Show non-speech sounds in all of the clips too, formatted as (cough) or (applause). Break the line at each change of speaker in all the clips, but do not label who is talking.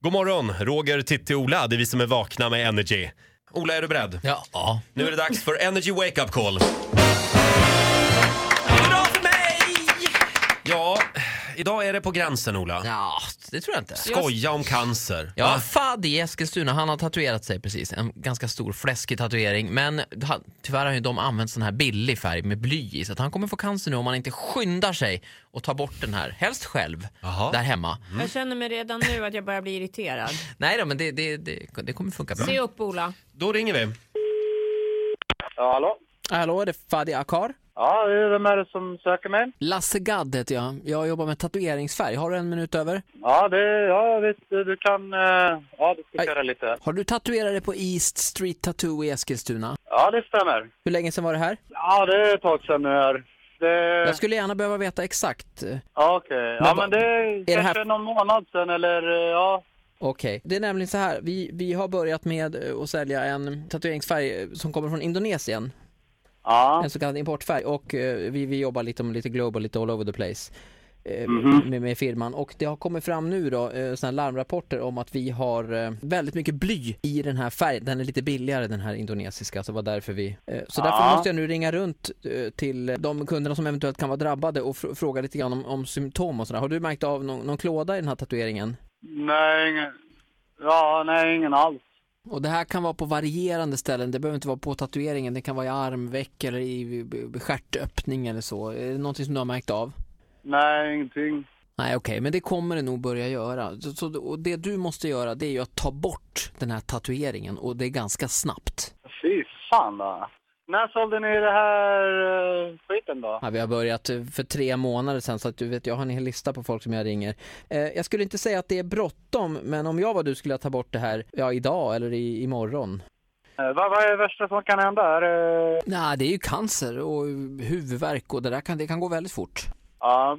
God morgon, Roger, Titti, Ola. Det är vi som är vakna med Energy. Ola, är du beredd?
Ja. ja.
Nu är det dags för Energy Wake Up Call. Hurra för mig! Ja, idag är det på gränsen, Ola.
Ja, det tror jag inte.
Skoja om cancer.
Ja,
Va?
Fadi i Eskilstuna, han har tatuerat sig precis. En ganska stor fläskig tatuering. Men han, tyvärr har ju de använt sån här billig färg med bly i. Så att han kommer få cancer nu om han inte skyndar sig och tar bort den här. Helst själv,
Jaha.
där hemma.
Mm.
Jag känner mig redan nu att jag börjar bli irriterad.
Nej då, men det, det, det, det kommer funka bra.
Se upp Ola.
Då ringer vi.
Ja, hallå?
Hallå, det är Fadi Akar.
Ja, vem är det som söker mig?
Lasse Gadd heter jag. Jag jobbar med tatueringsfärg. Har du en minut över?
Ja, det, ja visst, du kan... eh, Ja, du ska
Aj.
köra lite.
Har du tatuerat dig på East Street Tattoo i Eskilstuna?
Ja, det stämmer.
Hur länge sedan var det här?
Ja, det är ett tag sedan nu här. Det...
Jag skulle gärna behöva veta exakt. Eh,
Ja, okej. Ja,
vad-
men det är
det
kanske
här-
någon månad sedan eller... eh, Ja,
Okej. Det är nämligen så här. Vi, vi har börjat med eh, att sälja en tatueringsfärg eh, som kommer från Indonesien.
ja,
En så kallad importfärg. Och eh, vi, vi jobbar lite, om- lite global, lite all over the place. eh,
Mhm.
Med, med firman och det har kommit fram nu då eh, såna här larmrapporter om att vi har eh, väldigt mycket bly i den här färgen. Den är lite billigare den här indonesiska så det var därför vi eh, så därför
Ja.
måste jag nu ringa runt eh, till de kunderna som eventuellt kan vara drabbade och fr- fråga lite grann om, om symptom och sådär. Har du märkt av någon, någon klåda i den här tatueringen?
nej, ingen... Ja, nej, ingen alls.
Och det här kan vara på varierande ställen. Det behöver inte vara på tatueringen. Det kan vara i armveck eller i stjärtöppning eller så. Är det någonting som du har märkt av?
Nej, ingenting.
Nej okej, men det kommer det nog börja göra. Så, så, och det du måste göra det är ju att ta bort den här tatueringen och det är ganska snabbt.
Fy fan då. När sålde ni det här eh, skiten då?
Ja, vi har börjat eh, för tre månader sedan så att du vet, jag har en hel lista på folk som jag ringer. Eh, jag skulle inte säga att det är bråttom, men om jag var du skulle jag ta bort det här ja, idag eller i, imorgon.
Eh, Vad, vad är det värsta som kan hända? Är det...
Nej, det är ju cancer och huvudvärk och det där kan, det kan gå väldigt fort.
Ja,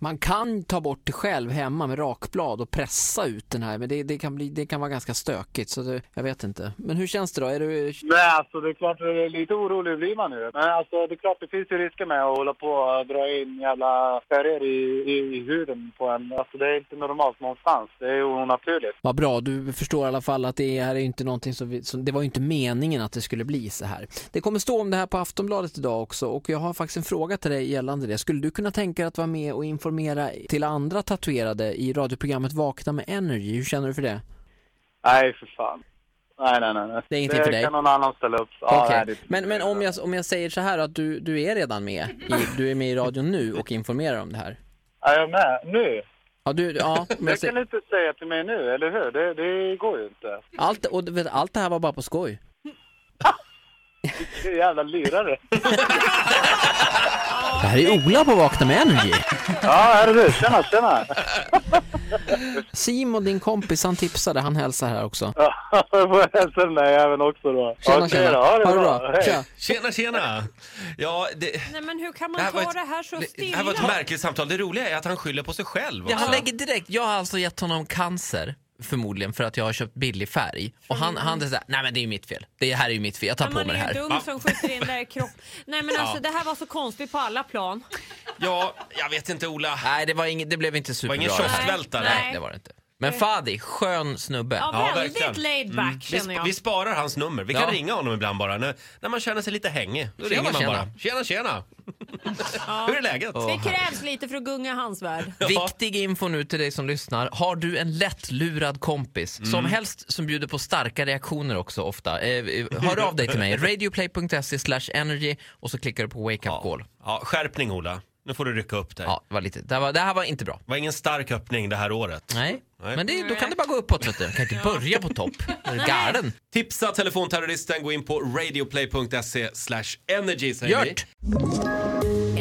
Man kan ta bort det själv hemma med rakblad och pressa ut den här, men det, det, kan, bli, det kan vara ganska stökigt. Så det, jag vet inte. Men hur känns det då? Är du,
Nej, alltså det är klart, eh, lite orolig blir man ju. Men alltså det är klart, det finns ju risker med att hålla på och dra in jävla färger i, i, i huden på en. Alltså det är inte normalt någonstans. Det är ju onaturligt.
Vad bra, du förstår i alla fall att det här är ju inte någonting som, vi, som... Det var ju inte meningen att det skulle bli så här. Det kommer stå om det här på Aftonbladet idag också och jag har faktiskt en fråga till dig gällande det. Skulle du kunna tänka dig att vara med och informera till andra tatuerade i radioprogrammet Vakna med Energy? Hur känner du för det?
Nej, för fan. Nej, nej, nej. nej.
Det är ingenting för dig?
kan någon annan ställa upp. Ja,
Okej.
nej, det-
Men, men om, jag, om jag säger så här att du, du är redan med, i, du är med i radion nu och informerar om det här.
Ja, jag med. Nu?
Ja, du, ja, om (laughs) jag
Det kan
säger,
du inte säga till mig nu, eller hur? Det, det går ju inte.
allt, och, du vet, allt det här var bara på skoj.
Det är jävla lirare.
Det här är Ola på Vakna med Energy.
Ja, här är du. Tjena, tjena. (laughs)
Simon, din kompis, han tipsade, han hälsar här också.
Ja, jag får hälsa den där jäveln också då.
Tjena,
Okej
tjena.
då.
Ha det bra.
Hej.
Tja.
Tjena, tjena! Ja, det,
Nej men hur kan man
Det här var
ta
ett-
det här så
det, det
stilla?
här var ett märkligt samtal. Det roliga är att han skyller på sig själv
Ja,
också.
han lägger direkt, jag har alltså gett honom cancer förmodligen för att jag har köpt billig färg. Och han, han är såhär, nej men det är ju mitt fel. Det här är ju mitt fel, jag tar
Men
på mig
man
det
är
här.
ju dum som skjuter in det här i kropp. Nej men alltså det här var så konstigt på alla plan.
Ja, jag vet inte, Ola.
Nej, det, var ing, det blev inte superbra.
ingen
det här.
kioskvältare.
Nej, det var det inte. Men Fadi, skön snubbe.
Ja,
Ja,
väldigt
verkligen. Mm.
laid back
Vi,
känner jag.
vi sparar hans nummer. Vi kan
Ja.
ringa honom ibland bara. När, när man känner sig lite hängig. Då
Tjena,
ringer man
tjena.
bara. Tjena, tjena! Hur är läget?
Det krävs lite för att gunga hans värld.
Viktig info nu till dig som lyssnar. Har du en lättlurad kompis,
Mm.
som helst som bjuder på starka reaktioner också ofta, eh, eh, hör av dig till
(laughs)
mig. Radioplay.se slash energy och så klickar du på wake up call.
Ja, skärpning, Ola. Nu får du rycka upp dig.
Ja, det, var lite, det, här var, det här var inte bra.
Det var ingen stark öppning det här året.
Nej,
Nej.
men det, då kan det bara gå uppåt. Vet du. Jag kan inte börja på
(laughs)
topp. Är du galen?
Tipsa telefonterroristen. Gå in på radioplay.se slash energy säger vi.
Gört!